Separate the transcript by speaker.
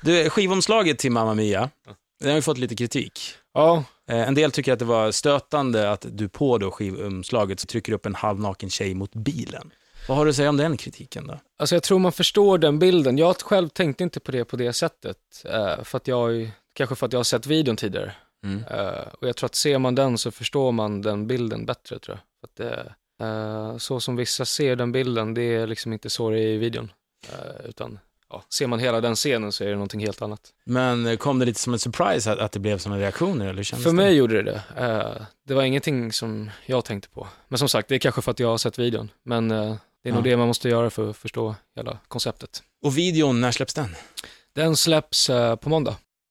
Speaker 1: Du, skivomslaget till Mamma Mia, den har ju fått lite kritik.
Speaker 2: Ja,
Speaker 1: Eh, En del tycker att det var stötande att du på då skivomslaget så trycker upp en halvnaken tjej mot bilen. Vad har du att säga om den kritiken då?
Speaker 2: alltså jag tror man förstår den bilden. Jag själv tänkte inte på det på det sättet, eh, för att jag, kanske för att jag har sett videon tidigare.
Speaker 1: Mm.
Speaker 2: Eh, och jag tror att ser man den så förstår man den bilden bättre tror jag. För Att det, eh, så som vissa ser den bilden, det är liksom inte så det är i videon. Eh, utan ja, ser man hela den scenen så är det någonting helt annat.
Speaker 1: Men eh, kom det lite som en surprise att, att det blev sådana reaktioner eller hur kändes
Speaker 2: För
Speaker 1: det?
Speaker 2: mig gjorde det det. Eh, det var ingenting som jag tänkte på. Men som sagt, det är kanske för att jag har sett videon. Men eh, det är nog
Speaker 1: Ja.
Speaker 2: det man måste göra för att förstå hela konceptet.
Speaker 1: Och videon, när släpps den?
Speaker 2: Den släpps eh, på måndag.